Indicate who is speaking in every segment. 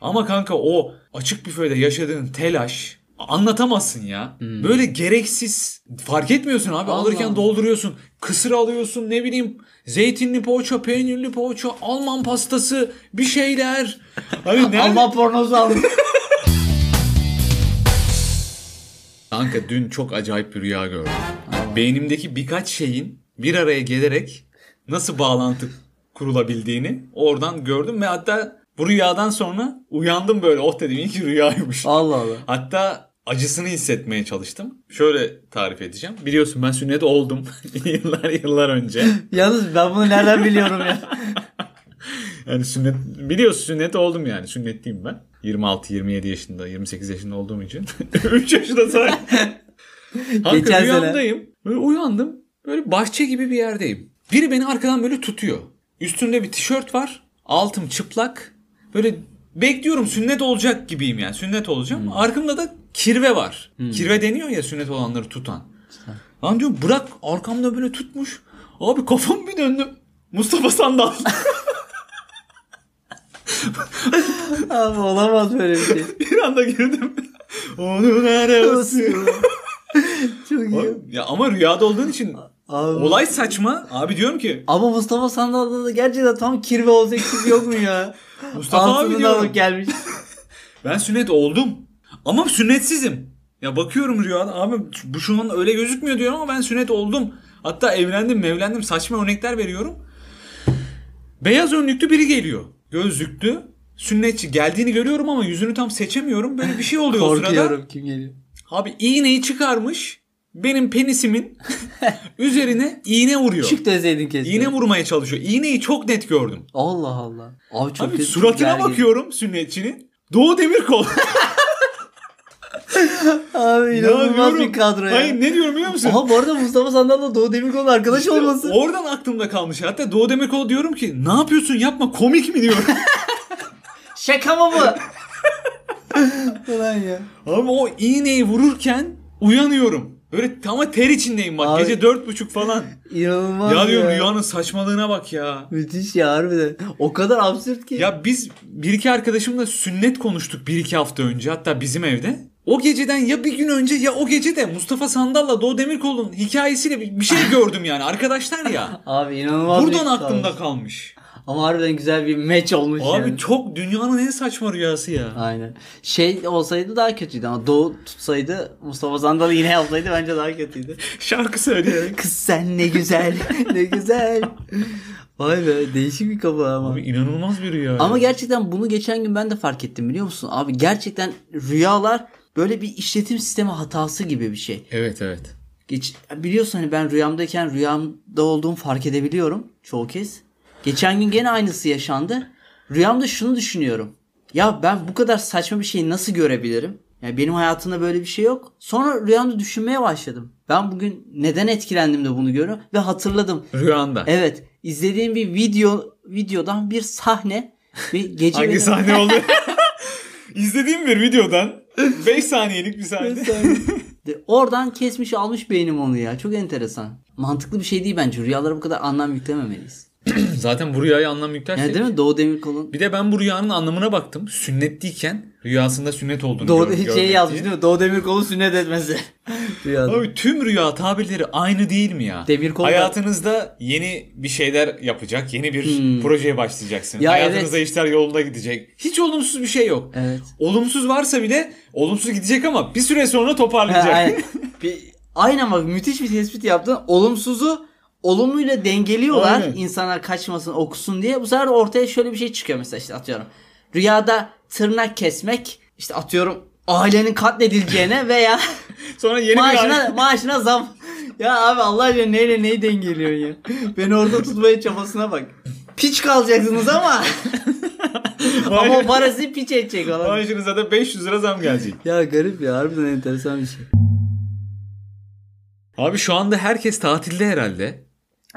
Speaker 1: Ama kanka o açık büfede yaşadığın telaş anlatamazsın ya. Böyle gereksiz fark etmiyorsun abi.
Speaker 2: Allah
Speaker 1: Alırken
Speaker 2: Allah.
Speaker 1: dolduruyorsun. Kısır alıyorsun ne bileyim zeytinli poğaça, peynirli poğaça, Alman pastası bir şeyler. Hani nerede-
Speaker 2: Alman pornosu aldım.
Speaker 1: Kanka dün çok acayip bir rüya gördüm. Hani Beynimdeki birkaç şeyin bir araya gelerek nasıl bağlantı kurulabildiğini oradan gördüm ve hatta bu rüyadan sonra uyandım böyle oh dedim iyi ki rüyaymış.
Speaker 2: Allah Allah.
Speaker 1: Hatta acısını hissetmeye çalıştım. Şöyle tarif edeceğim. Biliyorsun ben sünnet oldum yıllar yıllar önce.
Speaker 2: Yalnız ben bunu nereden biliyorum ya?
Speaker 1: Yani sünnet biliyorsun sünnet oldum yani. Sünnetliyim ben. 26 27 yaşında, 28 yaşında olduğum için. 3 yaşında say. Kanka
Speaker 2: Geçen sene.
Speaker 1: rüyamdayım. Böyle uyandım. Böyle bahçe gibi bir yerdeyim. Biri beni arkadan böyle tutuyor. Üstümde bir tişört var. Altım çıplak. Böyle bekliyorum sünnet olacak gibiyim yani. Sünnet olacağım.
Speaker 2: Hmm.
Speaker 1: Arkamda da kirve var. Kirve deniyor ya sünnet olanları tutan. Lan diyorum bırak arkamda böyle tutmuş. Abi kafam bir döndü. Mustafa Sandal.
Speaker 2: Abi olamaz böyle bir şey.
Speaker 1: bir anda girdim. Onun arası.
Speaker 2: Çok iyi.
Speaker 1: ya ama rüyada olduğun için
Speaker 2: Abi.
Speaker 1: olay saçma. Abi diyorum ki
Speaker 2: Ama Mustafa Sandal'da da gerçekten tam kirve olacak tipi yok mu ya?
Speaker 1: Mustafa abi
Speaker 2: Altını da
Speaker 1: diyorum.
Speaker 2: alıp gelmiş.
Speaker 1: ben sünnet oldum. Ama sünnetsizim. Ya bakıyorum rüyada abi bu şu an öyle gözükmüyor diyorum ama ben sünnet oldum. Hatta evlendim mevlendim saçma örnekler veriyorum. Beyaz önlüklü biri geliyor. Gözlüklü. Sünnetçi geldiğini görüyorum ama yüzünü tam seçemiyorum. Böyle bir şey oluyor o sırada.
Speaker 2: Korkuyorum kim geliyor.
Speaker 1: Abi iğneyi çıkarmış. Benim penisimin üzerine iğne vuruyor.
Speaker 2: Çık deseydin kesin.
Speaker 1: İğne vurmaya çalışıyor. İğneyi çok net gördüm.
Speaker 2: Allah Allah. Abi çok
Speaker 1: Abi
Speaker 2: kötü
Speaker 1: suratına
Speaker 2: gergin.
Speaker 1: bakıyorum sünnetçinin. Doğu Demirkol.
Speaker 2: Abi
Speaker 1: Ya
Speaker 2: inanılmaz
Speaker 1: diyorum-
Speaker 2: bir kadro ya.
Speaker 1: Hayır ne diyorum biliyor musun?
Speaker 2: Aha bu arada Mustafa Sandal'la Doğu Demirkol'un arkadaş
Speaker 1: İşte
Speaker 2: olması.
Speaker 1: Oradan aklımda kalmış. Hatta Doğu Demirkol diyorum ki ne yapıyorsun yapma komik mi diyorum.
Speaker 2: Şaka mı bu? Ulan ya.
Speaker 1: Abi o iğneyi vururken uyanıyorum. Böyle ama ter içindeyim bak.
Speaker 2: Abi-
Speaker 1: Gece dört buçuk falan.
Speaker 2: İnanılmaz
Speaker 1: ya diyorum rüyanın saçmalığına bak ya.
Speaker 2: Müthiş ya harbiden. O kadar absürt ki.
Speaker 1: Ya biz bir iki arkadaşımla sünnet konuştuk bir iki hafta önce hatta bizim evde. O geceden ya bir gün önce ya o gece de Mustafa Sandal'la Doğu Demirkol'un hikayesiyle bir bir şey gördüm yani arkadaşlar ya.
Speaker 2: Abi inanılmaz
Speaker 1: Buradan
Speaker 2: bir-
Speaker 1: aklımda kalmış.
Speaker 2: Ama harbiden güzel bir match olmuş
Speaker 1: Abi
Speaker 2: yani.
Speaker 1: çok dünyanın en saçma rüyası ya.
Speaker 2: Aynen. Şey olsaydı daha kötüydü ama Doğu tutsaydı Mustafa Sandal yine yapsaydı bence daha kötüydü.
Speaker 1: Şarkı söyleyerek.
Speaker 2: Kız sen ne güzel. ne güzel. Vay be değişik bir kafa ama.
Speaker 1: Abi inanılmaz bir rüya.
Speaker 2: Ama
Speaker 1: ya.
Speaker 2: gerçekten bunu geçen gün ben de fark ettim biliyor musun? Abi gerçekten rüyalar böyle bir işletim sistemi hatası gibi bir şey.
Speaker 1: Evet evet.
Speaker 2: Geç, biliyorsun hani ben rüyamdayken rüyamda olduğumu fark edebiliyorum çoğu kez. Geçen gün gene aynısı yaşandı. Rüyamda şunu düşünüyorum. Ya ben bu kadar saçma bir şeyi nasıl görebilirim? Ya benim hayatımda böyle bir şey yok. Sonra rüyamda düşünmeye başladım. Ben bugün neden etkilendim de bunu görüyorum ve hatırladım.
Speaker 1: Rüyanda.
Speaker 2: Evet, izlediğim bir video videodan bir sahne ve gece
Speaker 1: Hangi
Speaker 2: benim-
Speaker 1: sahne oldu? İzlediğim bir videodan 5 saniyelik bir sahne.
Speaker 2: De- Oradan kesmiş almış beynim onu ya. Çok enteresan. Mantıklı bir şey değil bence. Rüyalara bu kadar anlam yüklememeliyiz.
Speaker 1: Zaten bu rüyayı anlam yüklersek.
Speaker 2: Yani değil mi? Doğu Demirkol'un
Speaker 1: Bir de ben bu rüyanın anlamına baktım. Sünnetliyken rüyasında sünnet olduğunu
Speaker 2: Doğu
Speaker 1: gör-
Speaker 2: şey
Speaker 1: görmek
Speaker 2: yazmış
Speaker 1: diye.
Speaker 2: değil mi? Doğu Demirkol'un sünnet etmesi. Rüyada.
Speaker 1: Abi tüm rüya tabirleri aynı değil mi ya?
Speaker 2: Demir kol-
Speaker 1: Hayatınızda yeni bir şeyler yapacak, yeni bir projeye başlayacaksınız.
Speaker 2: Hmm. Ya
Speaker 1: Hayatınızda işler yolunda gidecek. Hiç olumsuz bir şey yok.
Speaker 2: Evet.
Speaker 1: Olumsuz varsa bile olumsuz gidecek ama bir süre sonra toparlayacak.
Speaker 2: Aynen. Bir, aynen bak müthiş bir tespit yaptın. Olumsuzu olumluyla dengeliyorlar.
Speaker 1: Aynen.
Speaker 2: İnsanlar kaçmasın okusun diye. Bu sefer ortaya şöyle bir şey çıkıyor mesela işte atıyorum. Rüyada tırnak kesmek işte atıyorum ailenin katledileceğine veya
Speaker 1: Sonra yeni bir
Speaker 2: maaşına,
Speaker 1: ay-
Speaker 2: maaşına zam. Ya abi Allah aşkına neyle neyi dengeliyorsun ya? Beni orada tutmaya çabasına bak. Piç kalacaksınız ama. ama o para sizi piç edecek olan.
Speaker 1: maaşınıza da 500 lira zam gelecek.
Speaker 2: Ya garip ya harbiden enteresan bir şey.
Speaker 1: Abi şu anda herkes tatilde herhalde.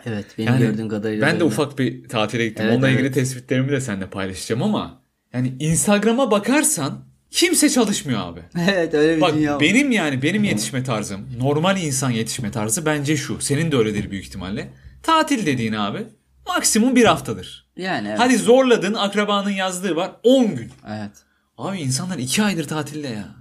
Speaker 2: Evet benim
Speaker 1: Yani
Speaker 2: gördüğüm kadarıyla.
Speaker 1: Ben de
Speaker 2: öyle.
Speaker 1: ufak bir tatile gittim.
Speaker 2: Evet,
Speaker 1: Onunla ilgili
Speaker 2: evet.
Speaker 1: tespitlerimi de seninle paylaşacağım ama yani Instagram'a bakarsan kimse çalışmıyor abi.
Speaker 2: evet öyle bir
Speaker 1: Bak
Speaker 2: dünya var.
Speaker 1: benim yani benim yetişme tarzım, normal insan yetişme tarzı bence şu. Senin de öyledir büyük ihtimalle. Tatil dediğin abi maksimum bir haftadır.
Speaker 2: Yani evet.
Speaker 1: Hadi zorladın akrabanın yazdığı var 10 gün.
Speaker 2: evet.
Speaker 1: Abi insanlar iki aydır tatilde ya.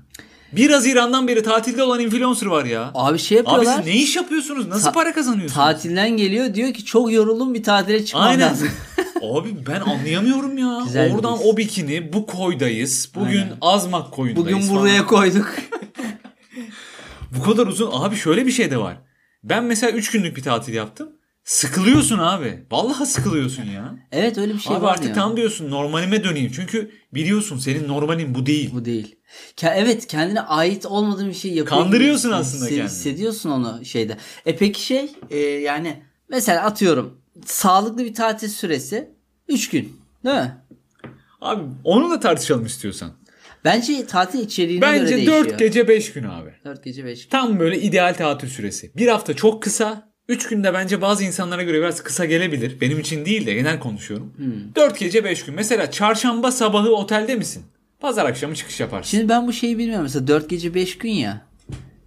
Speaker 1: 1 Haziran'dan beri tatilde olan influencer var ya.
Speaker 2: Abi şey
Speaker 1: Abi
Speaker 2: yapıyorlar.
Speaker 1: siz ne iş yapıyorsunuz? Nasıl
Speaker 2: Ta-
Speaker 1: para kazanıyorsunuz?
Speaker 2: Tatilden geliyor diyor ki çok yoruldum bir tatile çıkmam
Speaker 1: Aynen.
Speaker 2: lazım.
Speaker 1: Abi ben anlayamıyorum ya.
Speaker 2: Güzel bir
Speaker 1: Oradan
Speaker 2: his.
Speaker 1: o bikini bu koydayız. Bugün
Speaker 2: Aynen.
Speaker 1: Azmak koyundayız.
Speaker 2: Bugün
Speaker 1: falan.
Speaker 2: buraya koyduk.
Speaker 1: Bu kadar uzun. Abi şöyle bir şey de var. Ben mesela 3 günlük bir tatil yaptım. Sıkılıyorsun abi. Vallahi sıkılıyorsun ya.
Speaker 2: evet öyle bir şey
Speaker 1: abi
Speaker 2: var
Speaker 1: artık
Speaker 2: ya.
Speaker 1: tam diyorsun normalime döneyim. Çünkü biliyorsun senin normalin bu değil.
Speaker 2: Bu değil. Ke- evet kendine ait olmadığın bir şey yapıyor.
Speaker 1: Kandırıyorsun
Speaker 2: gibi
Speaker 1: aslında
Speaker 2: hisse-
Speaker 1: kendini.
Speaker 2: Hissediyorsun onu şeyde. E peki şey e, yani mesela atıyorum sağlıklı bir tatil süresi 3 gün değil mi?
Speaker 1: Abi onu da tartışalım istiyorsan.
Speaker 2: Bence tatil içeriğine göre
Speaker 1: Bence
Speaker 2: değişiyor.
Speaker 1: 4 gece 5 gün abi.
Speaker 2: 4 gece 5 gün.
Speaker 1: Tam böyle ideal tatil süresi. Bir hafta çok kısa. 3 günde bence bazı insanlara göre biraz kısa gelebilir. Benim için değil de genel konuşuyorum.
Speaker 2: Hmm.
Speaker 1: 4 gece 5 gün. Mesela çarşamba sabahı otelde misin? Pazar akşamı çıkış yaparsın.
Speaker 2: Şimdi ben bu şeyi bilmiyorum. Mesela 4 gece 5 gün ya.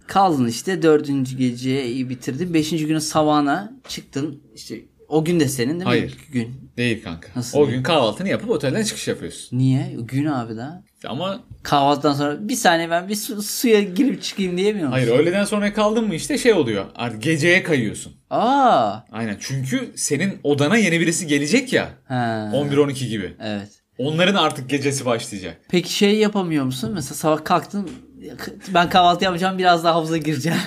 Speaker 2: Kaldın işte 4. geceyi bitirdin. 5. günün sabahına çıktın. İşte o gün de senin değil mi?
Speaker 1: Hayır.
Speaker 2: İlk Gün.
Speaker 1: Değil kanka.
Speaker 2: Nasıl
Speaker 1: o
Speaker 2: değil?
Speaker 1: gün kahvaltını yapıp otelden çıkış yapıyorsun.
Speaker 2: Niye? Gün abi daha.
Speaker 1: Ama
Speaker 2: Kahvaltıdan sonra bir saniye ben bir su- suya girip çıkayım diyemiyor musun?
Speaker 1: hayır öğleden sonra kaldın mı işte şey oluyor. Artık geceye kayıyorsun.
Speaker 2: Aa.
Speaker 1: Aynen. Çünkü senin odana yeni birisi gelecek ya.
Speaker 2: He.
Speaker 1: 11-12 gibi.
Speaker 2: Evet.
Speaker 1: Onların artık gecesi başlayacak.
Speaker 2: Peki şey yapamıyor musun? Mesela sabah kalktın ben kahvaltı yapacağım biraz daha havuza gireceğim.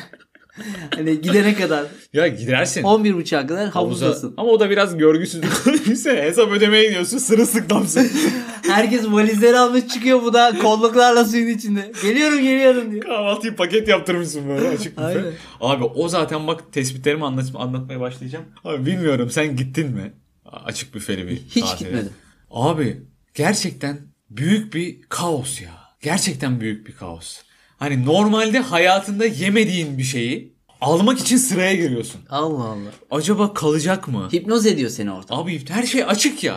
Speaker 2: hani gidene kadar
Speaker 1: Ya gidersin.
Speaker 2: 11.30'a kadar
Speaker 1: Havuza-
Speaker 2: havuzdasın.
Speaker 1: Ama o da biraz görgüsüzlük konuysa hesap ödemeye gidiyorsun sırılsıklamsın.
Speaker 2: Herkes valizleri almış çıkıyor bu da kolluklarla suyun içinde. Geliyorum geliyorum diyor.
Speaker 1: Kahvaltıyı paket yaptırmışsın böyle açık büfe.
Speaker 2: Aynen.
Speaker 1: Abi o zaten bak tespitlerimi anlat anlatmaya başlayacağım. Abi bilmiyorum sen gittin mi? A- Açık büfeli bir
Speaker 2: Hiç
Speaker 1: tatile.
Speaker 2: gitmedim.
Speaker 1: Abi gerçekten büyük bir kaos ya. Gerçekten büyük bir kaos. Hani normalde hayatında yemediğin bir şeyi almak için sıraya giriyorsun.
Speaker 2: Allah Allah.
Speaker 1: Acaba kalacak mı?
Speaker 2: Hipnoz ediyor seni orada.
Speaker 1: Abi her şey açık ya.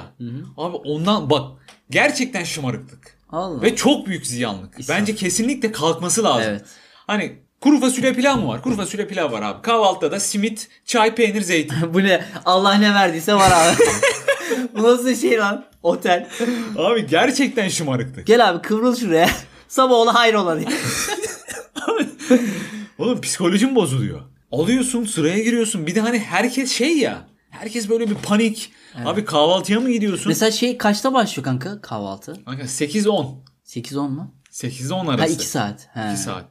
Speaker 1: Abi ondan bak gerçekten şımarıklık.
Speaker 2: Allah.
Speaker 1: Ve çok büyük ziyanlık.
Speaker 2: İsraf.
Speaker 1: Bence kesinlikle kalkması lazım.
Speaker 2: Evet.
Speaker 1: Hani kuru fasulye pilav mı var? Kuru fasulye pilav var abi. Kahvaltıda da simit, çay, peynir, zeytin.
Speaker 2: bu ne? Allah ne verdiyse var abi. bu nasıl şey lan? Otel.
Speaker 1: abi gerçekten şımarıklık.
Speaker 2: Gel abi kıvrıl şuraya. Sabah ola hayrola diye.
Speaker 1: Oğlum psikolojim bozuluyor. Alıyorsun sıraya giriyorsun. Bir de hani herkes şey ya. Herkes böyle bir panik. Abi kahvaltıya mı gidiyorsun?
Speaker 2: Mesela şey kaçta başlıyor kanka kahvaltı?
Speaker 1: Kanka 8-10.
Speaker 2: 8-10 mu?
Speaker 1: 8-10
Speaker 2: Ha
Speaker 1: arası.
Speaker 2: 2 saat. He.
Speaker 1: İki saat.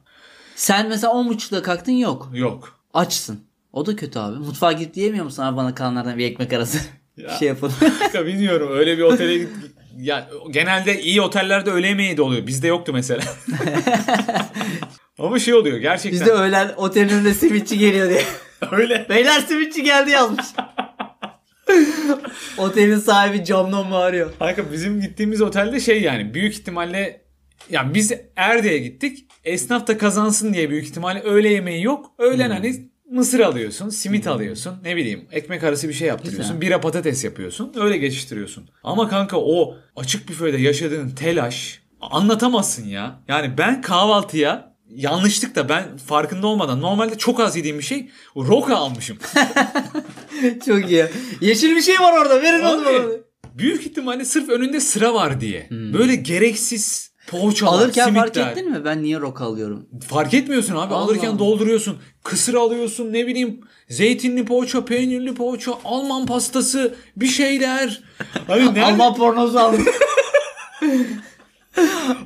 Speaker 2: Sen mesela 10.30'da kalktın yok.
Speaker 1: Yok.
Speaker 2: Açsın. O da kötü abi. Mutfağa git diyemiyor musun abi bana kalanlardan bir ekmek arası? Bir
Speaker 1: Ya.
Speaker 2: şey yapalım.
Speaker 1: Ya bilmiyorum öyle bir otele git. Ya genelde iyi otellerde öğle yemeği de oluyor. Bizde yoktu mesela. Ama şey oluyor gerçekten.
Speaker 2: Bizde öğlen otelin önünde simitçi geliyor diye.
Speaker 1: öyle.
Speaker 2: Beyler simitçi geldi yazmış. Otelin sahibi camdan bağırıyor.
Speaker 1: Kanka bizim gittiğimiz otelde şey yani büyük ihtimalle ya biz Erde'ye gittik. Esnaf da kazansın diye büyük ihtimalle öğle yemeği yok. Öğlen hani mısır alıyorsun, simit alıyorsun, ne bileyim ekmek arası bir şey yaptırıyorsun,
Speaker 2: Güzel.
Speaker 1: bira patates yapıyorsun, öyle geçiştiriyorsun. Ama kanka o açık büfede yaşadığın telaş anlatamazsın ya. Yani ben kahvaltıya yanlışlıkla ben farkında olmadan normalde çok az yediğim bir şey roka almışım.
Speaker 2: Çok iyi. Yeşil bir şey var orada. Verin
Speaker 1: Abi,
Speaker 2: onu bana.
Speaker 1: büyük ihtimalle sırf önünde sıra var diye. Böyle gereksiz poğaçalar,
Speaker 2: Hmm. Alırken
Speaker 1: simitler.
Speaker 2: fark ettin mi? Ben niye rock alıyorum?
Speaker 1: Fark etmiyorsun abi.
Speaker 2: Allah
Speaker 1: Alırken
Speaker 2: Allah.
Speaker 1: dolduruyorsun. Kısır alıyorsun ne bileyim zeytinli poğaça, peynirli poğaça, Alman pastası bir şeyler. Hani nerede?
Speaker 2: Alman pornosu aldım.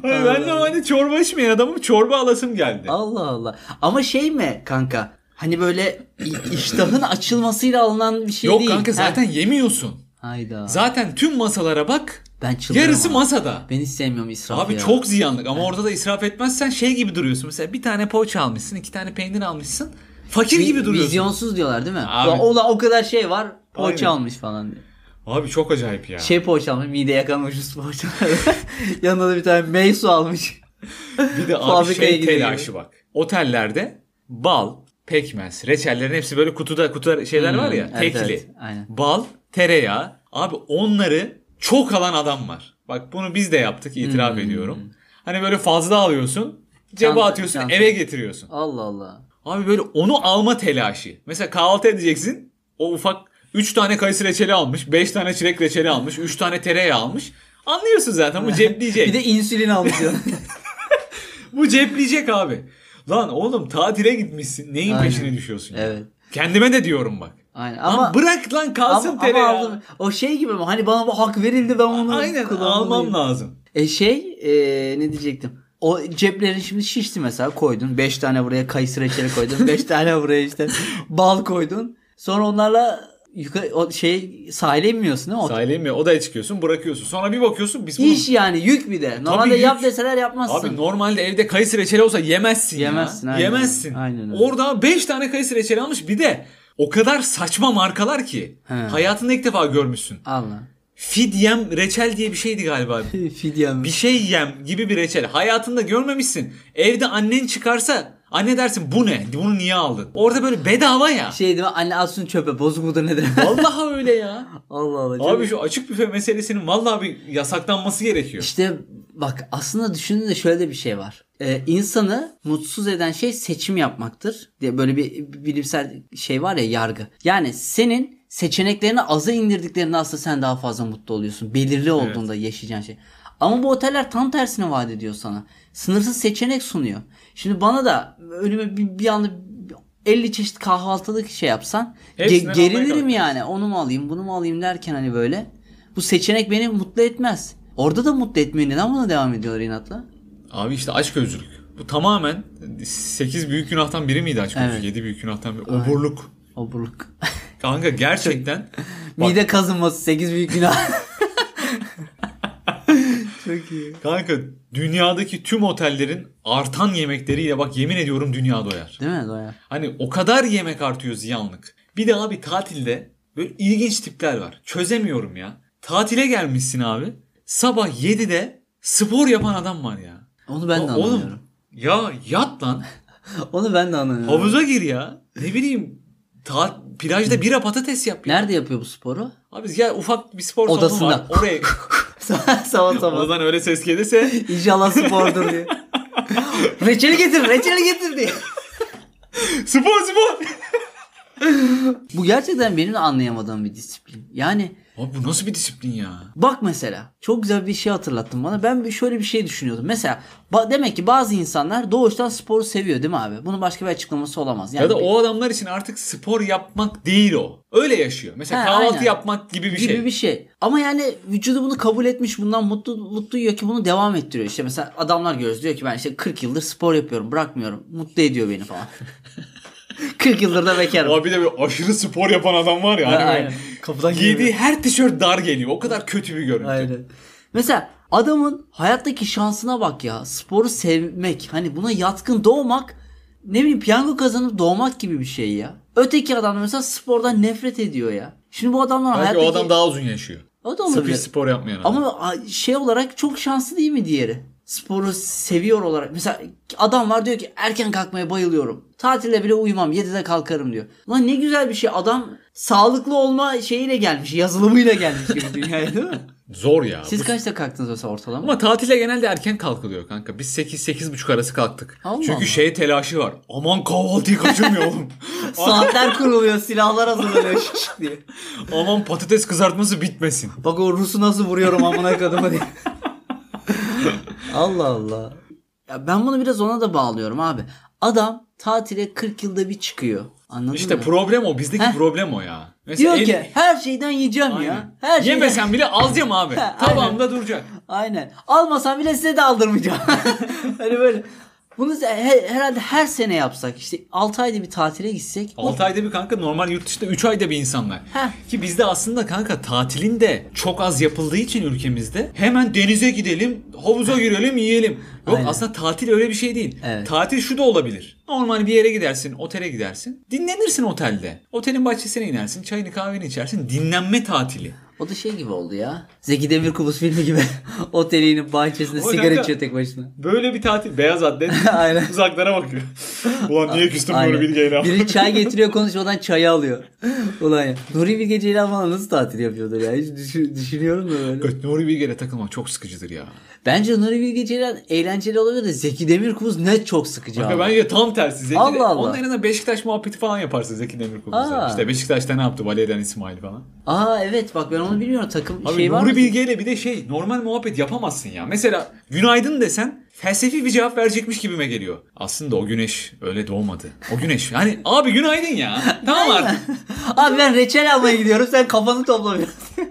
Speaker 1: Hani ben de hani çorba içmeyen adamım çorba alasım geldi.
Speaker 2: Allah Allah. Ama şey mi kanka? Hani böyle i- iştahın açılmasıyla alınan bir şey
Speaker 1: Yok
Speaker 2: değil.
Speaker 1: kanka
Speaker 2: Ha.
Speaker 1: zaten yemiyorsun.
Speaker 2: Hayda.
Speaker 1: Zaten tüm masalara bak.
Speaker 2: ben çıldırıyorum.
Speaker 1: Yarısı
Speaker 2: abi.
Speaker 1: masada.
Speaker 2: Ben hiç sevmiyorum israfı
Speaker 1: Abi
Speaker 2: ya.
Speaker 1: çok ziyanlık ama orada da israf etmezsen şey gibi duruyorsun. Mesela bir tane poğaça almışsın, iki tane peynir almışsın. Fakir
Speaker 2: Vi-
Speaker 1: gibi duruyorsun.
Speaker 2: Vizyonsuz diyorlar değil mi?
Speaker 1: Abi.
Speaker 2: Ulan Ola o kadar şey var. Poğaça
Speaker 1: Aynen.
Speaker 2: almış falan diye.
Speaker 1: Abi çok acayip ya.
Speaker 2: Şey poğaça almış. Mide yakanmış üst poğaça. Yanında da bir tane meysu almış.
Speaker 1: bir de abi
Speaker 2: fabrikaya
Speaker 1: şey
Speaker 2: gidiyor.
Speaker 1: telaşı bak. Otellerde bal, pekmez, reçellerin hepsi böyle kutuda kutuda şeyler
Speaker 2: Hmm,
Speaker 1: var ya.
Speaker 2: evet,
Speaker 1: tekli.
Speaker 2: evet, aynen.
Speaker 1: Bal, tereyağı. Abi onları çok alan adam var. Bak bunu biz de yaptık itiraf
Speaker 2: Hmm.
Speaker 1: ediyorum. Hani böyle fazla alıyorsun. Cebe
Speaker 2: Çanta-
Speaker 1: atıyorsun
Speaker 2: çanta.
Speaker 1: eve getiriyorsun.
Speaker 2: Allah Allah.
Speaker 1: Abi böyle onu alma telaşı. Mesela kahvaltı edeceksin. O ufak 3 tane kayısı reçeli almış. 5 tane çilek reçeli almış. 3 tane tereyağı almış. Anlıyorsun zaten bu cepleyecek.
Speaker 2: Bir de insülin almış yanına.
Speaker 1: Bu cepleyecek abi. Lan oğlum tatile gitmişsin. Neyin
Speaker 2: Aynen.
Speaker 1: peşine düşüyorsun? ya?
Speaker 2: Evet.
Speaker 1: Kendime de diyorum bak.
Speaker 2: Aynen.
Speaker 1: Ama,
Speaker 2: Ama
Speaker 1: bırak lan kalsın
Speaker 2: ama, ama
Speaker 1: tereyağı.
Speaker 2: aldım. O şey gibi mi? Hani bana bu hak verildi ben onu
Speaker 1: Aynen almam
Speaker 2: kullanmalıyım.
Speaker 1: lazım.
Speaker 2: E şey e, ne diyecektim? O ceplerin şimdi şişti mesela koydun. 5 tane buraya kayısı reçeli koydun. 5 tane buraya işte bal koydun. Sonra onlarla yukarı o şey sahile inmiyorsun değil mi? O-
Speaker 1: Sahile inmiyor. Odaya çıkıyorsun bırakıyorsun. Sonra bir bakıyorsun biz bunu...
Speaker 2: İş yani yük bir de. Normalde
Speaker 1: yük.
Speaker 2: yap deseler yapmazsın.
Speaker 1: Abi normalde evde kayısı reçeli olsa yemezsin
Speaker 2: Yemezsin,
Speaker 1: ya.
Speaker 2: aynen.
Speaker 1: Yemezsin.
Speaker 2: Aynen öyle.
Speaker 1: Orada 5 tane kayısı reçeli almış. Bir de o kadar saçma markalar ki.
Speaker 2: He.
Speaker 1: Hayatında ilk defa görmüşsün.
Speaker 2: Allah.
Speaker 1: Fidyem reçel diye bir şeydi galiba.
Speaker 2: Fidyen.
Speaker 1: bir şey yem gibi bir reçel. Hayatında görmemişsin. Evde annen çıkarsa anne dersin bu ne? Bunu niye aldın? Orada böyle bedava ya.
Speaker 2: Şey değil mi? Anne al şunu çöpe bozuk mudur nedir?
Speaker 1: Vallahi öyle ya.
Speaker 2: Allah Allah. çok-
Speaker 1: Abi şu açık büfe meselesinin vallahi bir yasaklanması gerekiyor.
Speaker 2: İşte bak aslında düşündüğünde şöyle de bir şey var. Ee, insanı mutsuz eden şey seçim yapmaktır diye böyle bir bilimsel şey var ya yargı. Yani senin seçeneklerini aza indirdiklerinde aslında sen daha fazla mutlu oluyorsun. Belirli olduğunda yaşayacağın şey. Ama bu oteller tam tersini vaat ediyor sana. Sınırsız seçenek sunuyor. Şimdi bana da önüme bir, bir anda 50 çeşit kahvaltılık şey yapsan ge-
Speaker 1: Hepsinden almaya
Speaker 2: gerilirim
Speaker 1: kalkıyorsun.
Speaker 2: yani. Onu mu alayım, bunu mu alayım derken hani böyle. Bu seçenek beni mutlu etmez. Orada da mutlu etmiyor. Neden buna devam ediyorlar inatla?
Speaker 1: Abi işte açgözlülük. Bu tamamen 8 büyük günahtan biri miydi açgözlülük?
Speaker 2: Evet.
Speaker 1: 7 büyük günahtan biri. Oburluk.
Speaker 2: Oburluk.
Speaker 1: Kanka gerçekten
Speaker 2: Mide kazınması 8 büyük günah. Çok iyi.
Speaker 1: kanka dünyadaki tüm otellerin artan yemekleriyle bak yemin ediyorum dünya doyar.
Speaker 2: Değil mi Doya?
Speaker 1: Hani o kadar yemek artıyor ziyanlık. Bir de abi tatilde böyle ilginç tipler var. Çözemiyorum ya. Tatile gelmişsin abi. Sabah 7'de spor yapan adam var ya.
Speaker 2: Onu ben de
Speaker 1: Ya
Speaker 2: anlamıyorum.
Speaker 1: ya yat lan.
Speaker 2: Onu ben de anlamıyorum.
Speaker 1: Havuza gir ya. Ne bileyim ta, plajda bira patates yap ya.
Speaker 2: Nerede yapıyor bu sporu?
Speaker 1: Abi ya ufak bir spor salonu
Speaker 2: Odasında.
Speaker 1: var. Oraya.
Speaker 2: sabah sabah. sabah.
Speaker 1: Odadan öyle ses gelirse
Speaker 2: İnşallah spordur diye. reçeli getir, reçeli getir diye.
Speaker 1: spor spor.
Speaker 2: Bu gerçekten benim de anlayamadığım bir disiplin. Yani
Speaker 1: Abi bu nasıl bir disiplin ya?
Speaker 2: Bak mesela çok güzel bir şey hatırlattın bana. Ben bir şöyle bir şey düşünüyordum. Mesela ba- demek ki bazı insanlar doğuştan sporu seviyor değil mi abi? Bunun başka bir açıklaması olamaz. Yani
Speaker 1: Ya da
Speaker 2: bir-
Speaker 1: o adamlar için artık spor yapmak değil o. Öyle yaşıyor. Mesela
Speaker 2: He,
Speaker 1: kahvaltı
Speaker 2: aynen.
Speaker 1: yapmak gibi bir
Speaker 2: gibi
Speaker 1: şey.
Speaker 2: bir şey. Ama yani vücudu bunu kabul etmiş. Bundan mutlu mutlu yiyor ki bunu devam ettiriyor. İşte mesela adamlar görüyoruz diyor ki ben işte 40 yıldır spor yapıyorum. Bırakmıyorum. Mutlu ediyor beni falan. 40 yıldır da bekarım.
Speaker 1: Abi bir de bir aşırı spor yapan adam var ya.
Speaker 2: Ha,
Speaker 1: Hani
Speaker 2: aynen.
Speaker 1: böyle
Speaker 2: Kapıdan
Speaker 1: Giydiği her tişört dar geliyor. O kadar kötü bir görüntü.
Speaker 2: Aynen. Mesela adamın hayattaki şansına bak ya. Sporu sevmek. Hani buna yatkın doğmak. Ne bileyim piyango kazanıp doğmak gibi bir şey ya. Öteki adam mesela spordan nefret ediyor ya. Şimdi bu adamlar
Speaker 1: Belki
Speaker 2: hayattaki...
Speaker 1: o adam daha uzun yaşıyor.
Speaker 2: O da
Speaker 1: Sırf
Speaker 2: olabilir.
Speaker 1: hiç spor yapmayan adam.
Speaker 2: Ama a- şey olarak çok şanslı değil mi diğeri? Sporu seviyor olarak. Mesela adam var diyor ki erken kalkmaya bayılıyorum. Tatile bile uyumam. 7'de kalkarım diyor. Lan ne güzel bir şey. Adam sağlıklı olma şeyiyle gelmiş. Yazılımıyla gelmiş gibi dünyaya değil mi?
Speaker 1: Zor ya.
Speaker 2: Siz
Speaker 1: Bu-
Speaker 2: kaçta kalktınız mesela ortalama?
Speaker 1: Ama tatile genelde erken kalkılıyor kanka. Biz 8-8.30 arası kalktık.
Speaker 2: Allah
Speaker 1: Çünkü
Speaker 2: Allah.
Speaker 1: şey telaşı var. Aman kahvaltıyı kaçırmayalım.
Speaker 2: Saatler kuruluyor, silahlar hazırlanıyor şık şık diye.
Speaker 1: Aman patates kızartması bitmesin.
Speaker 2: Bak o Rus'u nasıl vuruyorum amına kadına diye. Allah Allah. Ya ben bunu biraz ona da bağlıyorum abi. Adam tatile 40 yılda bir çıkıyor. Anladın
Speaker 1: İşte
Speaker 2: mı?
Speaker 1: problem o. Bizdeki
Speaker 2: Heh.
Speaker 1: problem o ya. Mesela
Speaker 2: Diyor
Speaker 1: el-
Speaker 2: ki her şeyden yiyeceğim ya.
Speaker 1: Aynen.
Speaker 2: Her şeyden.
Speaker 1: Yemesen bile az yem abi.
Speaker 2: Ha,
Speaker 1: Tabağımda duracak.
Speaker 2: Aynen. Almasam bile size de aldırmayacağım. hani böyle. Bunu he- herhalde her sene yapsak işte 6 ayda bir tatile gitsek.
Speaker 1: 6 ayda bir kanka normal yurt dışında 3 ayda bir insanlar.
Speaker 2: Heh.
Speaker 1: Ki bizde aslında kanka tatilin de çok az yapıldığı için ülkemizde hemen denize gidelim, havuza girelim, yiyelim. Yok
Speaker 2: Aynen.
Speaker 1: aslında tatil öyle bir şey değil.
Speaker 2: Evet.
Speaker 1: Tatil şu da olabilir. Normal bir yere gidersin, otele gidersin. Dinlenirsin otelde. Otelin bahçesine inersin, çayını kahveni içersin. Dinlenme tatili.
Speaker 2: O da şey gibi oldu ya. Zeki Demirkubuz filmi gibi. Otelinin bahçesinde
Speaker 1: O
Speaker 2: sigara
Speaker 1: kanka-
Speaker 2: içiyor tek başına.
Speaker 1: Böyle bir tatil. Beyaz atlet
Speaker 2: Aynen.
Speaker 1: uzaklara bakıyor. Ulan niye küstüm
Speaker 2: Aynen.
Speaker 1: Nuri Bilge'yle?
Speaker 2: Biri çay getiriyor konuşmadan çayı alıyor. Ulan ya. Nuri Bilge Ceylan falan nasıl tatil yapıyordur ya? Hiç düşün- düşünüyorum da böyle.
Speaker 1: Evet, Nuri Bilge'yle takılmak çok sıkıcıdır ya.
Speaker 2: Bence Nuri Bilge Ceylan eğlenceli olabilir de Zeki Demirkubuz net çok sıkıcı
Speaker 1: Ya
Speaker 2: abi.
Speaker 1: bence tam tersi. Zeki
Speaker 2: Allah
Speaker 1: de-
Speaker 2: Allah.
Speaker 1: Onun yerine Beşiktaş muhabbeti falan yaparsın Zeki Demirkubuz.
Speaker 2: Aa.
Speaker 1: İşte Beşiktaş'ta ne yaptı? Valerian İsmail falan.
Speaker 2: Aa evet bak ben onu bilmiyorum. Takım
Speaker 1: Abi
Speaker 2: şey var
Speaker 1: Nuri
Speaker 2: mı?
Speaker 1: Bilge ile bir de şey normal muhabbet yapamazsın ya. Mesela günaydın desen felsefi bir cevap verecekmiş gibime geliyor. Aslında o güneş öyle doğmadı. O güneş yani abi günaydın ya. Tamam artık.
Speaker 2: Abi ben reçel almaya gidiyorum. Sen kafanı topla biraz.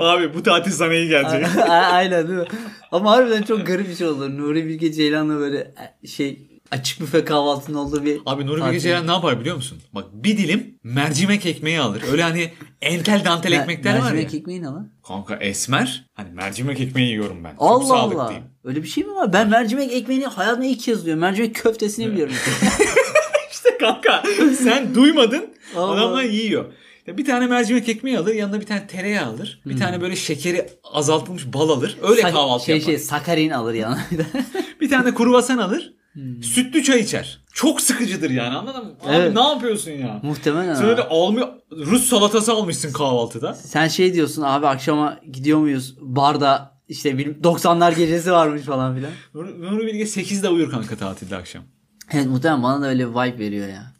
Speaker 1: abi bu tatil sana iyi gelecek.
Speaker 2: A- Aynen değil mi? Ama harbiden çok garip bir şey olur. Nuri Bilge Ceylan'la böyle şey açık büfe kahvaltının olduğu bir
Speaker 1: Abi Nuri Bilge
Speaker 2: tatil.
Speaker 1: Ceylan ne yapar biliyor musun? Bak bir dilim mercimek ekmeği alır. Öyle hani entel dantel
Speaker 2: Mer-
Speaker 1: ekmekler var ya.
Speaker 2: Mercimek ekmeği ne lan?
Speaker 1: Kanka esmer. Hani mercimek ekmeği yiyorum ben. Çok
Speaker 2: Allah Allah.
Speaker 1: sağlıklıyım.
Speaker 2: Öyle bir şey mi var? Ben mercimek ekmeğini hayatımda ilk kez duyuyorum. Mercimek köftesini biliyorum.
Speaker 1: İşte kanka sen duymadın.
Speaker 2: Allah.
Speaker 1: Adamlar yiyor. Ya Bir tane mercimek ekmeği alır, yanına bir tane tereyağı alır. Bir tane böyle şekeri azaltılmış bal alır. Öyle
Speaker 2: Sak-
Speaker 1: kahvaltı
Speaker 2: Hmm. şey,
Speaker 1: yapar.
Speaker 2: Şey, sakarin alır yanına. bir de.
Speaker 1: Bir tane kruvasan alır. Sütlü çay içer. Çok sıkıcıdır yani anladın mı? Abi
Speaker 2: Hmm. Evet.
Speaker 1: ne yapıyorsun ya?
Speaker 2: Muhtemelen.
Speaker 1: Sen
Speaker 2: ama.
Speaker 1: öyle almıyor, Rus salatası almışsın kahvaltıda.
Speaker 2: Sen şey diyorsun abi akşama gidiyor muyuz barda işte bil- 90'lar gecesi varmış falan filan.
Speaker 1: Nuri, Nuri Bilge 8'de uyur kanka tatilde akşam.
Speaker 2: Evet muhtemelen bana da öyle bir vibe veriyor ya.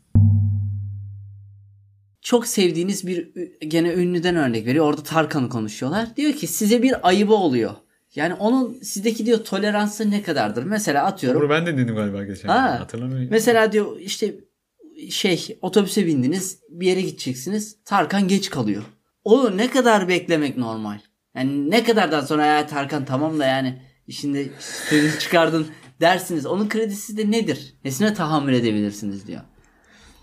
Speaker 2: Çok sevdiğiniz bir ü- gene ünlüden örnek veriyor. Orada Tarkan'ı konuşuyorlar. Diyor ki size bir ayıbı oluyor. Yani onun sizdeki diyor toleransı ne kadardır? Mesela atıyorum.
Speaker 1: Bunu ben de dedim galiba geçen.
Speaker 2: Ha.
Speaker 1: gün, Hatırlamıyorum.
Speaker 2: Mesela diyor işte şey otobüse bindiniz bir yere gideceksiniz. Tarkan geç kalıyor. O ne kadar beklemek normal? Yani ne kadardan sonra ya Tarkan tamam da yani işinde sözünü çıkardın dersiniz. Onun kredisi de nedir? Nesine tahammül edebilirsiniz diyor.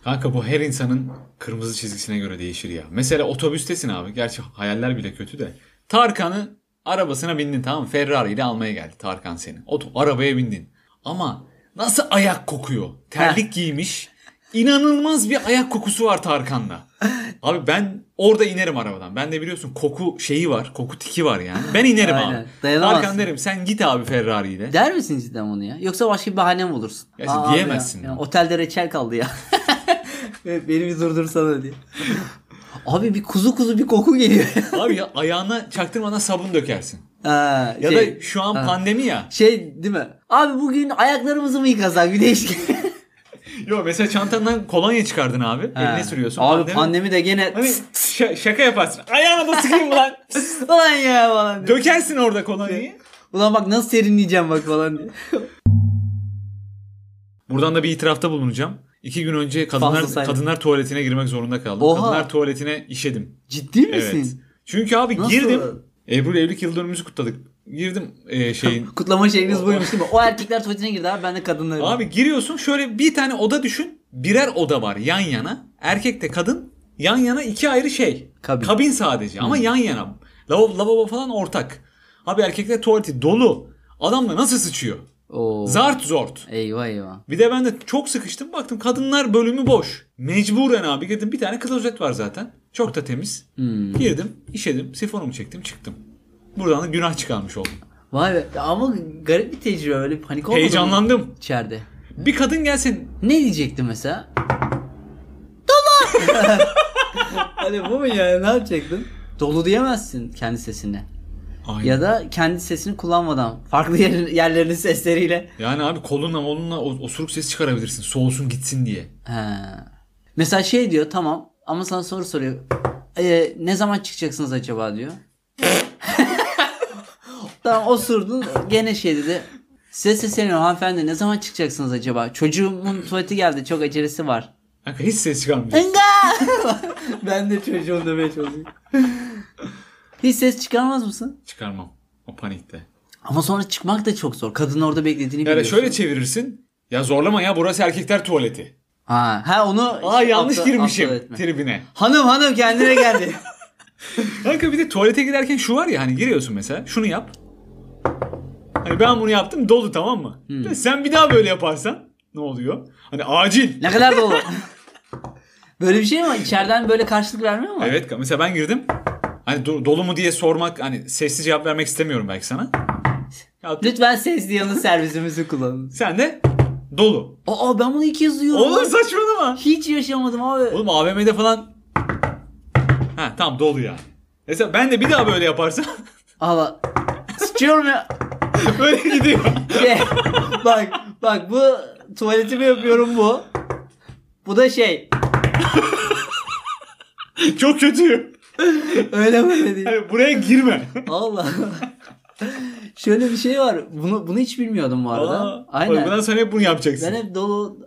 Speaker 1: Kanka bu her insanın kırmızı çizgisine göre değişir ya. Mesela otobüstesin abi. Gerçi hayaller bile kötü de. Tarkan'ı arabasına bindin tamam mı? Ferrari ile almaya geldi Tarkan seni. Oto, arabaya bindin. Ama nasıl ayak kokuyor? Terlik giymiş. İnanılmaz bir ayak kokusu var Tarkan'da. Abi ben orada inerim arabadan. Ben de biliyorsun koku şeyi var. Koku tiki var yani. Ben inerim
Speaker 2: Aynen.
Speaker 1: abi.
Speaker 2: Dayanamazsın.
Speaker 1: Tarkan derim sen git abi Ferrari ile.
Speaker 2: Der misin cidden bunu ya? Yoksa başka bir bahane mi bulursun?
Speaker 1: Ya sen
Speaker 2: Aa abi
Speaker 1: diyemezsin
Speaker 2: Ya.
Speaker 1: ya.
Speaker 2: Ya otelde reçel kaldı ya. Beni bir durdursana diye. Abi bir kuzu kuzu bir koku geliyor.
Speaker 1: Abi ya ayağına çaktırmadan sabun dökersin.
Speaker 2: Ha,
Speaker 1: Ya
Speaker 2: şey-
Speaker 1: da şu an
Speaker 2: Ha.
Speaker 1: pandemi ya.
Speaker 2: Şey değil mi? Abi bugün ayaklarımızı mı yıkasak bir değişik.
Speaker 1: Yo mesela çantandan kolonya çıkardın abi. Eline sürüyorsun.
Speaker 2: Abi
Speaker 1: Pandemi-
Speaker 2: pandemi, de gene
Speaker 1: Hani şa- şaka yaparsın. Ayağına da sıkayım lan.
Speaker 2: falan ya falan diye.
Speaker 1: Dökersin orada
Speaker 2: Şey-
Speaker 1: kolonyayı.
Speaker 2: Ulan bak nasıl serinleyeceğim bak falan diye.
Speaker 1: Buradan da bir itirafta bulunacağım. İki gün önce kadınlar
Speaker 2: Fazla sayma.
Speaker 1: kadınlar tuvaletine girmek zorunda kaldım.
Speaker 2: Oha.
Speaker 1: Kadınlar tuvaletine işedim.
Speaker 2: Ciddi
Speaker 1: Evet.
Speaker 2: misin?
Speaker 1: Çünkü abi
Speaker 2: Nasıl?
Speaker 1: girdim. Ebru evlilik yıl dönümümüzü kutladık. Girdim e, şeyin.
Speaker 2: Kutlama şekliniz buymuş değil mi? O erkekler tuvaletine girdi abi ben de kadınlarım.
Speaker 1: abi giriyorsun şöyle bir tane oda düşün. Birer oda var yan yana. Erkek de kadın. Yan yana iki ayrı şey.
Speaker 2: Kabin.
Speaker 1: Kabin sadece ama yan yana. Lavabo, lavabo falan ortak. Abi erkekler tuvaleti dolu. Adam da nasıl sıçıyor?
Speaker 2: Oo.
Speaker 1: Zart zort.
Speaker 2: Eyvah eyvah.
Speaker 1: Bir de ben de çok sıkıştım baktım kadınlar bölümü boş. Mecburen abi girdim bir tane klozet var zaten. Çok da temiz. Girdim, işedim, sifonumu çektim, çıktım. Buradan da günah çıkarmış oldum.
Speaker 2: Vay be. Ya Ama garip bir tecrübe öyle bir panik olmadı mı
Speaker 1: Heyecanlandım.
Speaker 2: içeride?
Speaker 1: Bir kadın gelsin.
Speaker 2: Ne diyecekti mesela? Dolu! hani bu mu yani ne yapacaktın? Dolu diyemezsin kendi sesine.
Speaker 1: Ay.
Speaker 2: Ya da kendi sesini kullanmadan farklı yer, yerlerin sesleriyle.
Speaker 1: Yani abi kolunla molunla o- osuruk sesi çıkarabilirsin. Soğusun gitsin diye.
Speaker 2: He. Mesela şey diyor tamam ama sana soru soruyor. "Ee, ne zaman çıkacaksınız acaba diyor. tamam osurdun gene şey dedi. Size sesleniyorum hanımefendi ne zaman çıkacaksınız acaba? Çocuğumun tuvaleti geldi çok acelesi var.
Speaker 1: Kanka hiç ses çıkarmıyor.
Speaker 2: Inga! ben de çocuğum demeye çalışıyorum. Hiç ses çıkarmaz mısın?
Speaker 1: Çıkarmam. O panikte.
Speaker 2: Ama sonra çıkmak da çok zor. Kadın orada
Speaker 1: Yani
Speaker 2: beklediğini biliyorsun.
Speaker 1: şöyle çevirirsin. Ya zorlama ya burası erkekler tuvaleti.
Speaker 2: Ha, ha onu
Speaker 1: Aa yanlış
Speaker 2: atla-
Speaker 1: girmişim
Speaker 2: atla etme.
Speaker 1: tribine.
Speaker 2: Hanım hanım kendine geldi.
Speaker 1: Kanka bir de tuvalete giderken şu var ya hani giriyorsun mesela şunu yap. Hani ben bunu yaptım dolu tamam mı? Ve Sen bir daha böyle yaparsan ne oluyor? Hani acil.
Speaker 2: ne kadar dolu. böyle bir şey mi? var? İçeriden böyle karşılık vermiyor mu?
Speaker 1: Evet mesela ben girdim. Hani do- dolu mu diye sormak hani sessiz cevap vermek istemiyorum belki sana. Yaptım.
Speaker 2: Lütfen sesli yanı servisimizi kullanın.
Speaker 1: Sen de dolu.
Speaker 2: Aa ben bunu ilk kez duyuyorum.
Speaker 1: Oğlum saçmalama.
Speaker 2: Hiç yaşamadım abi.
Speaker 1: Oğlum AVM'de falan. Ha tamam dolu ya. Mesela ben de bir daha böyle yaparsam
Speaker 2: Allah. Sıçıyorum ya.
Speaker 1: böyle gidiyor.
Speaker 2: Ye. bak bak bu tuvaletimi yapıyorum bu. Bu da şey.
Speaker 1: Çok kötü.
Speaker 2: Öyle böyle değil.
Speaker 1: Yani buraya girme.
Speaker 2: Allah. Şöyle bir şey var. Bunu bunu hiç bilmiyordum bu arada.
Speaker 1: Aa,
Speaker 2: Aynen.
Speaker 1: Bundan sonra hep bunu yapacaksın.
Speaker 2: Ben hep dolu.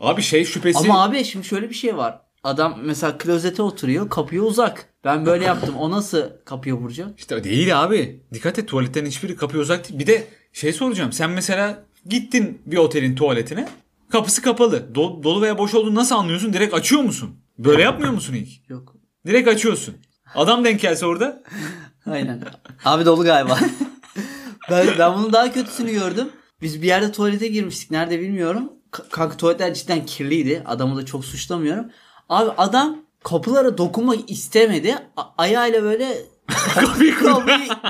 Speaker 1: Abi şey şüphesi.
Speaker 2: Ama abi şimdi şöyle bir şey var. Adam mesela klozete oturuyor, kapıya uzak. Ben böyle yaptım. O nasıl kapıya vuracak?
Speaker 1: İşte değil abi. Dikkat et tuvaletten hiçbiri kapıya uzak değil. Bir de şey soracağım. Sen mesela gittin bir otelin tuvaletine. Kapısı kapalı. Do- dolu veya boş olduğunu nasıl anlıyorsun? Direkt açıyor musun? Böyle yapmıyor musun ilk?
Speaker 2: Yok.
Speaker 1: Direkt açıyorsun. Adam denk gelse orada.
Speaker 2: Aynen. Abi dolu galiba. ben, ben bunun daha kötüsünü gördüm. Biz bir yerde tuvalete girmiştik. Nerede bilmiyorum. Ka- Kanka tuvaletler cidden kirliydi. Adamı da çok suçlamıyorum. Abi adam kapılara dokunmak istemedi. A- ayağıyla böyle kapıyı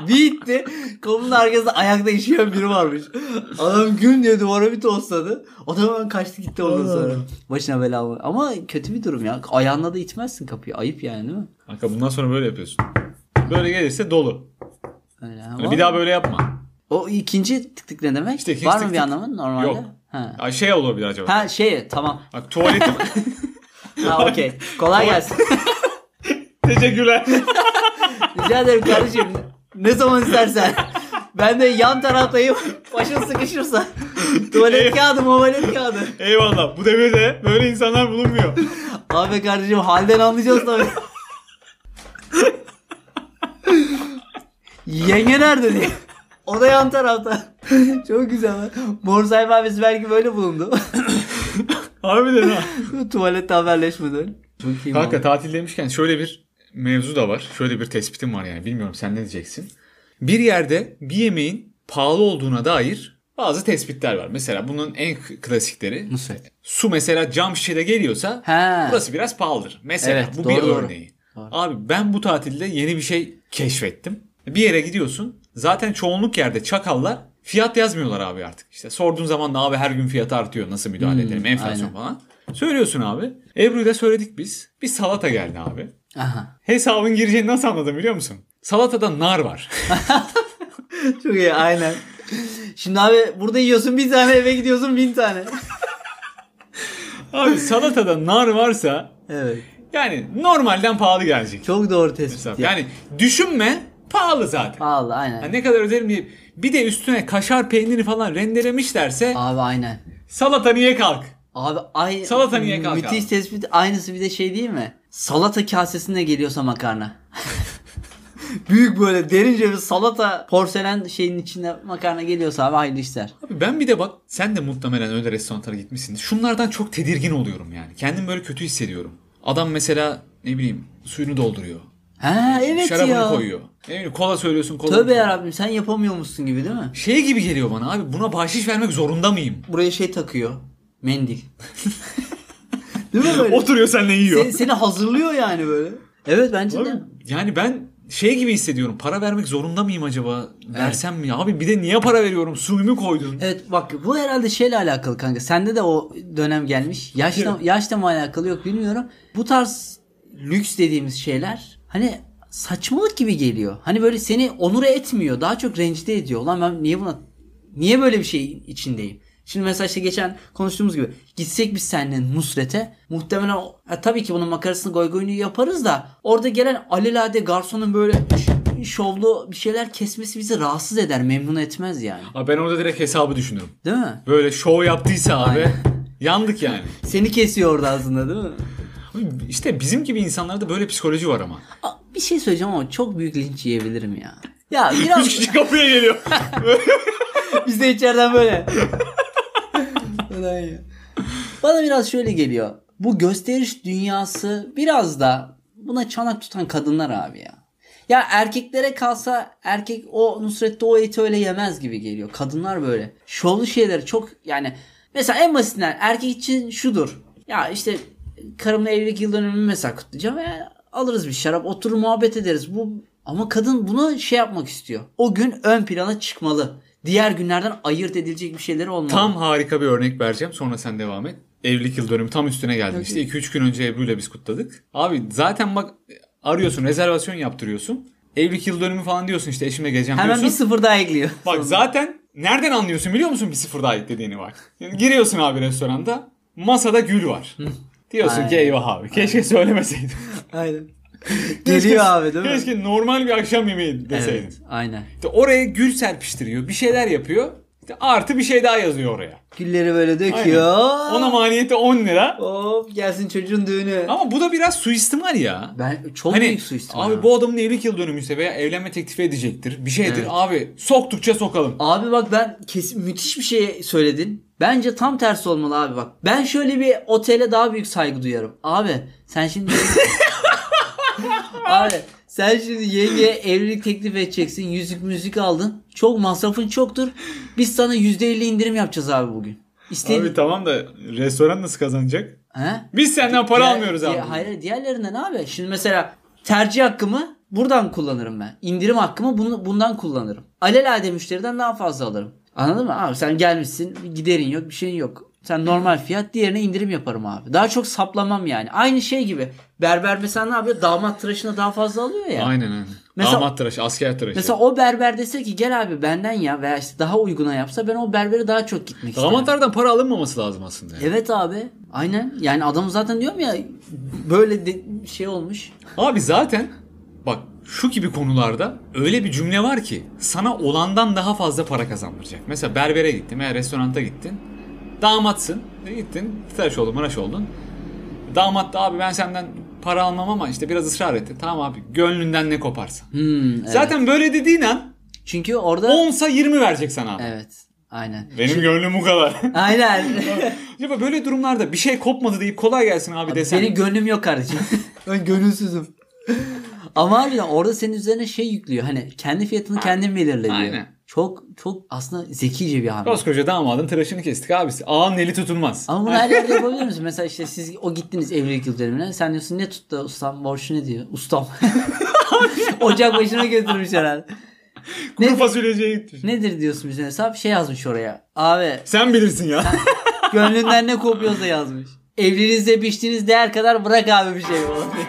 Speaker 2: bir itti. Kapının arkasında ayakta işeyen biri varmış. Adam güm diye duvara bir tosladı. O da hemen kaçtı gitti ondan
Speaker 1: Allah
Speaker 2: sonra.
Speaker 1: Allah.
Speaker 2: Başına bela oldu. Ama kötü bir durum ya. Ayağınla da itmezsin kapıyı. Ayıp yani değil mi?
Speaker 1: Kanka bundan sonra böyle yapıyorsun. Böyle gelirse dolu.
Speaker 2: Öyle
Speaker 1: Hani
Speaker 2: ama-
Speaker 1: bir daha böyle yapma.
Speaker 2: O ikinci tık tık ne demek?
Speaker 1: İşte ikinci
Speaker 2: Var
Speaker 1: tık
Speaker 2: mı bir
Speaker 1: tık.
Speaker 2: anlamı normalde?
Speaker 1: Yok.
Speaker 2: Ha.
Speaker 1: Ya şey olabilir acaba.
Speaker 2: Ha şey tamam.
Speaker 1: Bak tuvaletim.
Speaker 2: Ha okey. Kolay gelsin.
Speaker 1: Teşekkürler.
Speaker 2: Rica ederim kardeşim. Ne zaman istersen. Ben de yan taraftayım. Başın sıkışırsa. Tuvalet kağıdı, tuvalet kağıdı.
Speaker 1: Eyvallah. Bu devirde böyle insanlar bulunmuyor.
Speaker 2: Abi kardeşim halden anlayacağız tabii. Yenge nerede diye. O da yan tarafta. Çok güzel lan. Mor sayfa abisi belki böyle bulundu.
Speaker 1: Harbiden ha.
Speaker 2: Tuvalette haberleşmeden. Çok iyi
Speaker 1: Kanka tatil demişken şöyle bir mevzu da var. Şöyle bir tespitim var yani. Bilmiyorum sen ne diyeceksin. Bir yerde bir yemeğin pahalı olduğuna dair bazı tespitler var. Mesela bunun en k- klasikleri
Speaker 2: Nusret.
Speaker 1: su mesela cam şişede geliyorsa
Speaker 2: He.
Speaker 1: burası biraz pahalıdır. Mesela
Speaker 2: Evet,
Speaker 1: bu
Speaker 2: doğru,
Speaker 1: bir
Speaker 2: doğru.
Speaker 1: örneği.
Speaker 2: Doğru.
Speaker 1: Abi ben bu tatilde yeni bir şey keşfettim. Bir yere gidiyorsun. Zaten çoğunluk yerde çakallar fiyat yazmıyorlar abi artık. İşte sorduğun zaman da abi her gün fiyat artıyor nasıl müdahale
Speaker 2: Hmm,
Speaker 1: edelim enflasyon
Speaker 2: aynen.
Speaker 1: falan. Söylüyorsun abi. Ebru'yla söyledik biz. Bir salata geldi abi.
Speaker 2: Aha.
Speaker 1: Hesabın gireceğini nasıl anladım biliyor musun? Salatada nar var.
Speaker 2: Çok iyi aynen. Şimdi abi burada yiyorsun bir tane eve gidiyorsun bin tane.
Speaker 1: abi salatada nar varsa
Speaker 2: Evet.
Speaker 1: yani normalden pahalı gelecek.
Speaker 2: Çok doğru tespit.
Speaker 1: Hesap.
Speaker 2: ya.
Speaker 1: Yani düşünme pahalı zaten.
Speaker 2: Pahalı aynen.
Speaker 1: Ha, ne kadar öderim diye. Bir de üstüne kaşar peyniri falan rendelemişlerse
Speaker 2: Abi aynen.
Speaker 1: salata niye kalk?
Speaker 2: Abi ay
Speaker 1: Salata niye kalk
Speaker 2: Müthiş
Speaker 1: abi?
Speaker 2: tespit. Aynısı bir de şey değil mi? Salata kasesinde geliyorsa makarna. Büyük böyle derince bir salata porselen şeyin içinde makarna geliyorsa abi hayırlı işler.
Speaker 1: Abi ben bir de bak sen de muhtemelen öyle restoranlara gitmişsin. Şunlardan çok tedirgin oluyorum yani. Kendim böyle kötü hissediyorum. Adam mesela ne bileyim suyunu dolduruyor.
Speaker 2: Ha evet
Speaker 1: şarabını
Speaker 2: ya.
Speaker 1: koyuyor. Ne bileyim kola söylüyorsun kola.
Speaker 2: Tövbe yarabbim sen yapamıyormuşsun gibi değil mi?
Speaker 1: Şey gibi geliyor bana abi buna bahşiş vermek zorunda mıyım?
Speaker 2: Buraya şey takıyor. Mendil. değil mi böyle?
Speaker 1: Oturuyor seninle yiyor.
Speaker 2: Seni, seni hazırlıyor yani böyle. Evet bence
Speaker 1: Abi,
Speaker 2: de.
Speaker 1: yani ben şey gibi hissediyorum. Para vermek zorunda mıyım acaba? Versem mi? Abi bir de niye para veriyorum? Suyumu koydun.
Speaker 2: Evet bak bu herhalde şeyle alakalı kanka. Sende de o dönem gelmiş. Yaşla,
Speaker 1: Evet.
Speaker 2: yaşla mı alakalı yok bilmiyorum. Bu tarz lüks dediğimiz şeyler hani saçmalık gibi geliyor. Hani böyle seni onur etmiyor. Daha çok rencide ediyor. Lan ben niye buna niye böyle bir şey içindeyim? Şimdi mesela işte geçen konuştuğumuz gibi gitsek biz seninle Nusret'e muhtemelen o- ha, tabii ki bunun makarasını goygoyunu yaparız da orada gelen alelade garsonun böyle ş- şovlu bir şeyler kesmesi bizi rahatsız eder, memnun etmez yani.
Speaker 1: Abi ben orada direkt hesabı düşünürüm.
Speaker 2: Değil mi?
Speaker 1: Böyle şov yaptıysa abi
Speaker 2: Aynen.
Speaker 1: yandık yani.
Speaker 2: Seni kesiyor orada aslında değil mi?
Speaker 1: Abi İşte bizim gibi insanlarda böyle psikoloji var ama.
Speaker 2: Aa, bir şey söyleyeceğim ama çok büyük linç yiyebilirim ya. Ya biraz
Speaker 1: kişi kapıya geliyor.
Speaker 2: biz de içeriden böyle. Ulan ya. Bana biraz şöyle geliyor. Bu gösteriş dünyası biraz da buna çanak tutan kadınlar abi ya. Ya erkeklere kalsa erkek o Nusret'te o eti öyle yemez gibi geliyor. Kadınlar böyle. Şovlu şeyler çok yani mesela en basitinden erkek için şudur. Ya işte karımla evlilik yıl dönümümü mesela kutlayacağım. Ya alırız bir şarap oturur muhabbet ederiz. Bu ama kadın bunu şey yapmak istiyor. O gün ön plana çıkmalı. Diğer günlerden ayırt edilecek bir şeyleri olmalı.
Speaker 1: tam harika bir örnek vereceğim. Sonra sen devam et. Evlilik yıl dönümü tam üstüne geldin işte. 2-3 gün önce Ebru'yla biz kutladık. Abi zaten bak arıyorsun rezervasyon yaptırıyorsun. Evlilik yıl dönümü falan diyorsun işte eşimle geleceğim
Speaker 2: Hemen bir
Speaker 1: diyorsun.
Speaker 2: sıfır daha ekliyor.
Speaker 1: Bak zaten Nereden anlıyorsun biliyor musun bir sıfır daha eklediğini bak. Yani giriyorsun abi restoranda. Masada gül var. Diyorsun ki
Speaker 2: Aynen.
Speaker 1: eyvah abi. Keşke söylemeseydim.
Speaker 2: Aynen.
Speaker 1: Keşke-
Speaker 2: Geliyor abi değil mi?
Speaker 1: Keşke normal bir akşam yemeği deseydin.
Speaker 2: Evet, aynen.
Speaker 1: İşte oraya gül serpiştiriyor. Bir şeyler yapıyor. İşte artı bir şey daha yazıyor oraya.
Speaker 2: Gülleri böyle
Speaker 1: Aynen.
Speaker 2: döküyor.
Speaker 1: Ona maliyeti 10 lira.
Speaker 2: Hop gelsin çocuğun düğünü.
Speaker 1: Ama bu da biraz suistimal ya.
Speaker 2: Ben çok
Speaker 1: hani
Speaker 2: büyük suistimal.
Speaker 1: abi bu adamın evlilik yıl dönümüyse veya evlenme teklifi edecektir. Bir şeydir
Speaker 2: Evet.
Speaker 1: abi. Soktukça sokalım.
Speaker 2: Abi bak ben kesin müthiş bir şey söyledin. Bence tam tersi olmalı abi bak. Ben şöyle bir otele daha büyük saygı duyarım. Abi sen şimdi Abi sen şimdi yengeye evlilik teklif edeceksin. Yüzük müzik aldın. Çok masrafın çoktur. Biz sana %50 indirim yapacağız abi bugün. İsteyin.
Speaker 1: Abi tamam da restoran nasıl kazanacak?
Speaker 2: He?
Speaker 1: Biz senden para
Speaker 2: Diğer-
Speaker 1: almıyoruz
Speaker 2: diğer-
Speaker 1: abi.
Speaker 2: Hayır diğerlerinden abi. Şimdi mesela tercih hakkımı buradan kullanırım ben. İndirim hakkımı bunu, bundan kullanırım. Alelade müşteriden daha fazla alırım. Anladın mı? Abi sen gelmişsin giderin yok bir şeyin yok. Sen normal fiyat diğerine indirim yaparım abi. Daha çok saplamam yani. Aynı şey gibi. Berber mesela ne yapıyor? Damat tıraşına daha fazla alıyor ya.
Speaker 1: Aynen aynen.
Speaker 2: Mesela-
Speaker 1: Damat tıraşı, asker tıraşı.
Speaker 2: Mesela o berber dese ki gel abi benden ya veya işte daha uyguna yapsa ben o berbere daha çok gitmek isterim.
Speaker 1: Damatlardan para alınmaması lazım aslında. yani.
Speaker 2: Evet abi. Aynen. Yani adam zaten diyorum ya böyle de- şey olmuş.
Speaker 1: Abi zaten bak şu gibi konularda öyle bir cümle var ki sana olandan daha fazla para kazandıracak. Mesela berbere gittin veya restoranta gittin. Damatsın. E, Gittin tıraş oldun maraş oldun. Damat da abi ben senden para almam ama işte biraz ısrar etti. Tamam abi gönlünden ne koparsan.
Speaker 2: Hmm, evet.
Speaker 1: Zaten böyle dediğin an
Speaker 2: Çünkü orada
Speaker 1: 10'sa 20 verecek sana abi.
Speaker 2: evet. Aynen.
Speaker 1: Benim gönlüm bu kadar.
Speaker 2: Aynen.
Speaker 1: Acaba böyle durumlarda bir şey kopmadı deyip kolay gelsin abi, desen.
Speaker 2: Senin gönlüm yok kardeşim. ben gönülsüzüm. Ama harbiden orada senin üzerine şey yüklüyor. Hani kendi fiyatını kendin belirle diyor.
Speaker 1: Aynen.
Speaker 2: Çok çok aslında zekice bir hamle.
Speaker 1: Koskoca damadın tıraşını kestik abisi. Ağanın eli tutulmaz.
Speaker 2: Ama bunu her yerde yapabilir misin? Mesela işte siz o gittiniz evlilik yıl dönümüne. Sen diyorsun ne tuttu ustam? Borçlu ne diyor? Ustam. Ocak başına götürmüş herhalde.
Speaker 1: Kuru fasulyeciye gitmiş.
Speaker 2: Nedir diyorsun bizim hesap? Şey yazmış oraya. Abi
Speaker 1: Sen bilirsin ya.
Speaker 2: Gönlünden ne kopuyorsa yazmış. Evliliğinizde biçtiğiniz değer kadar bırak abi bir şey.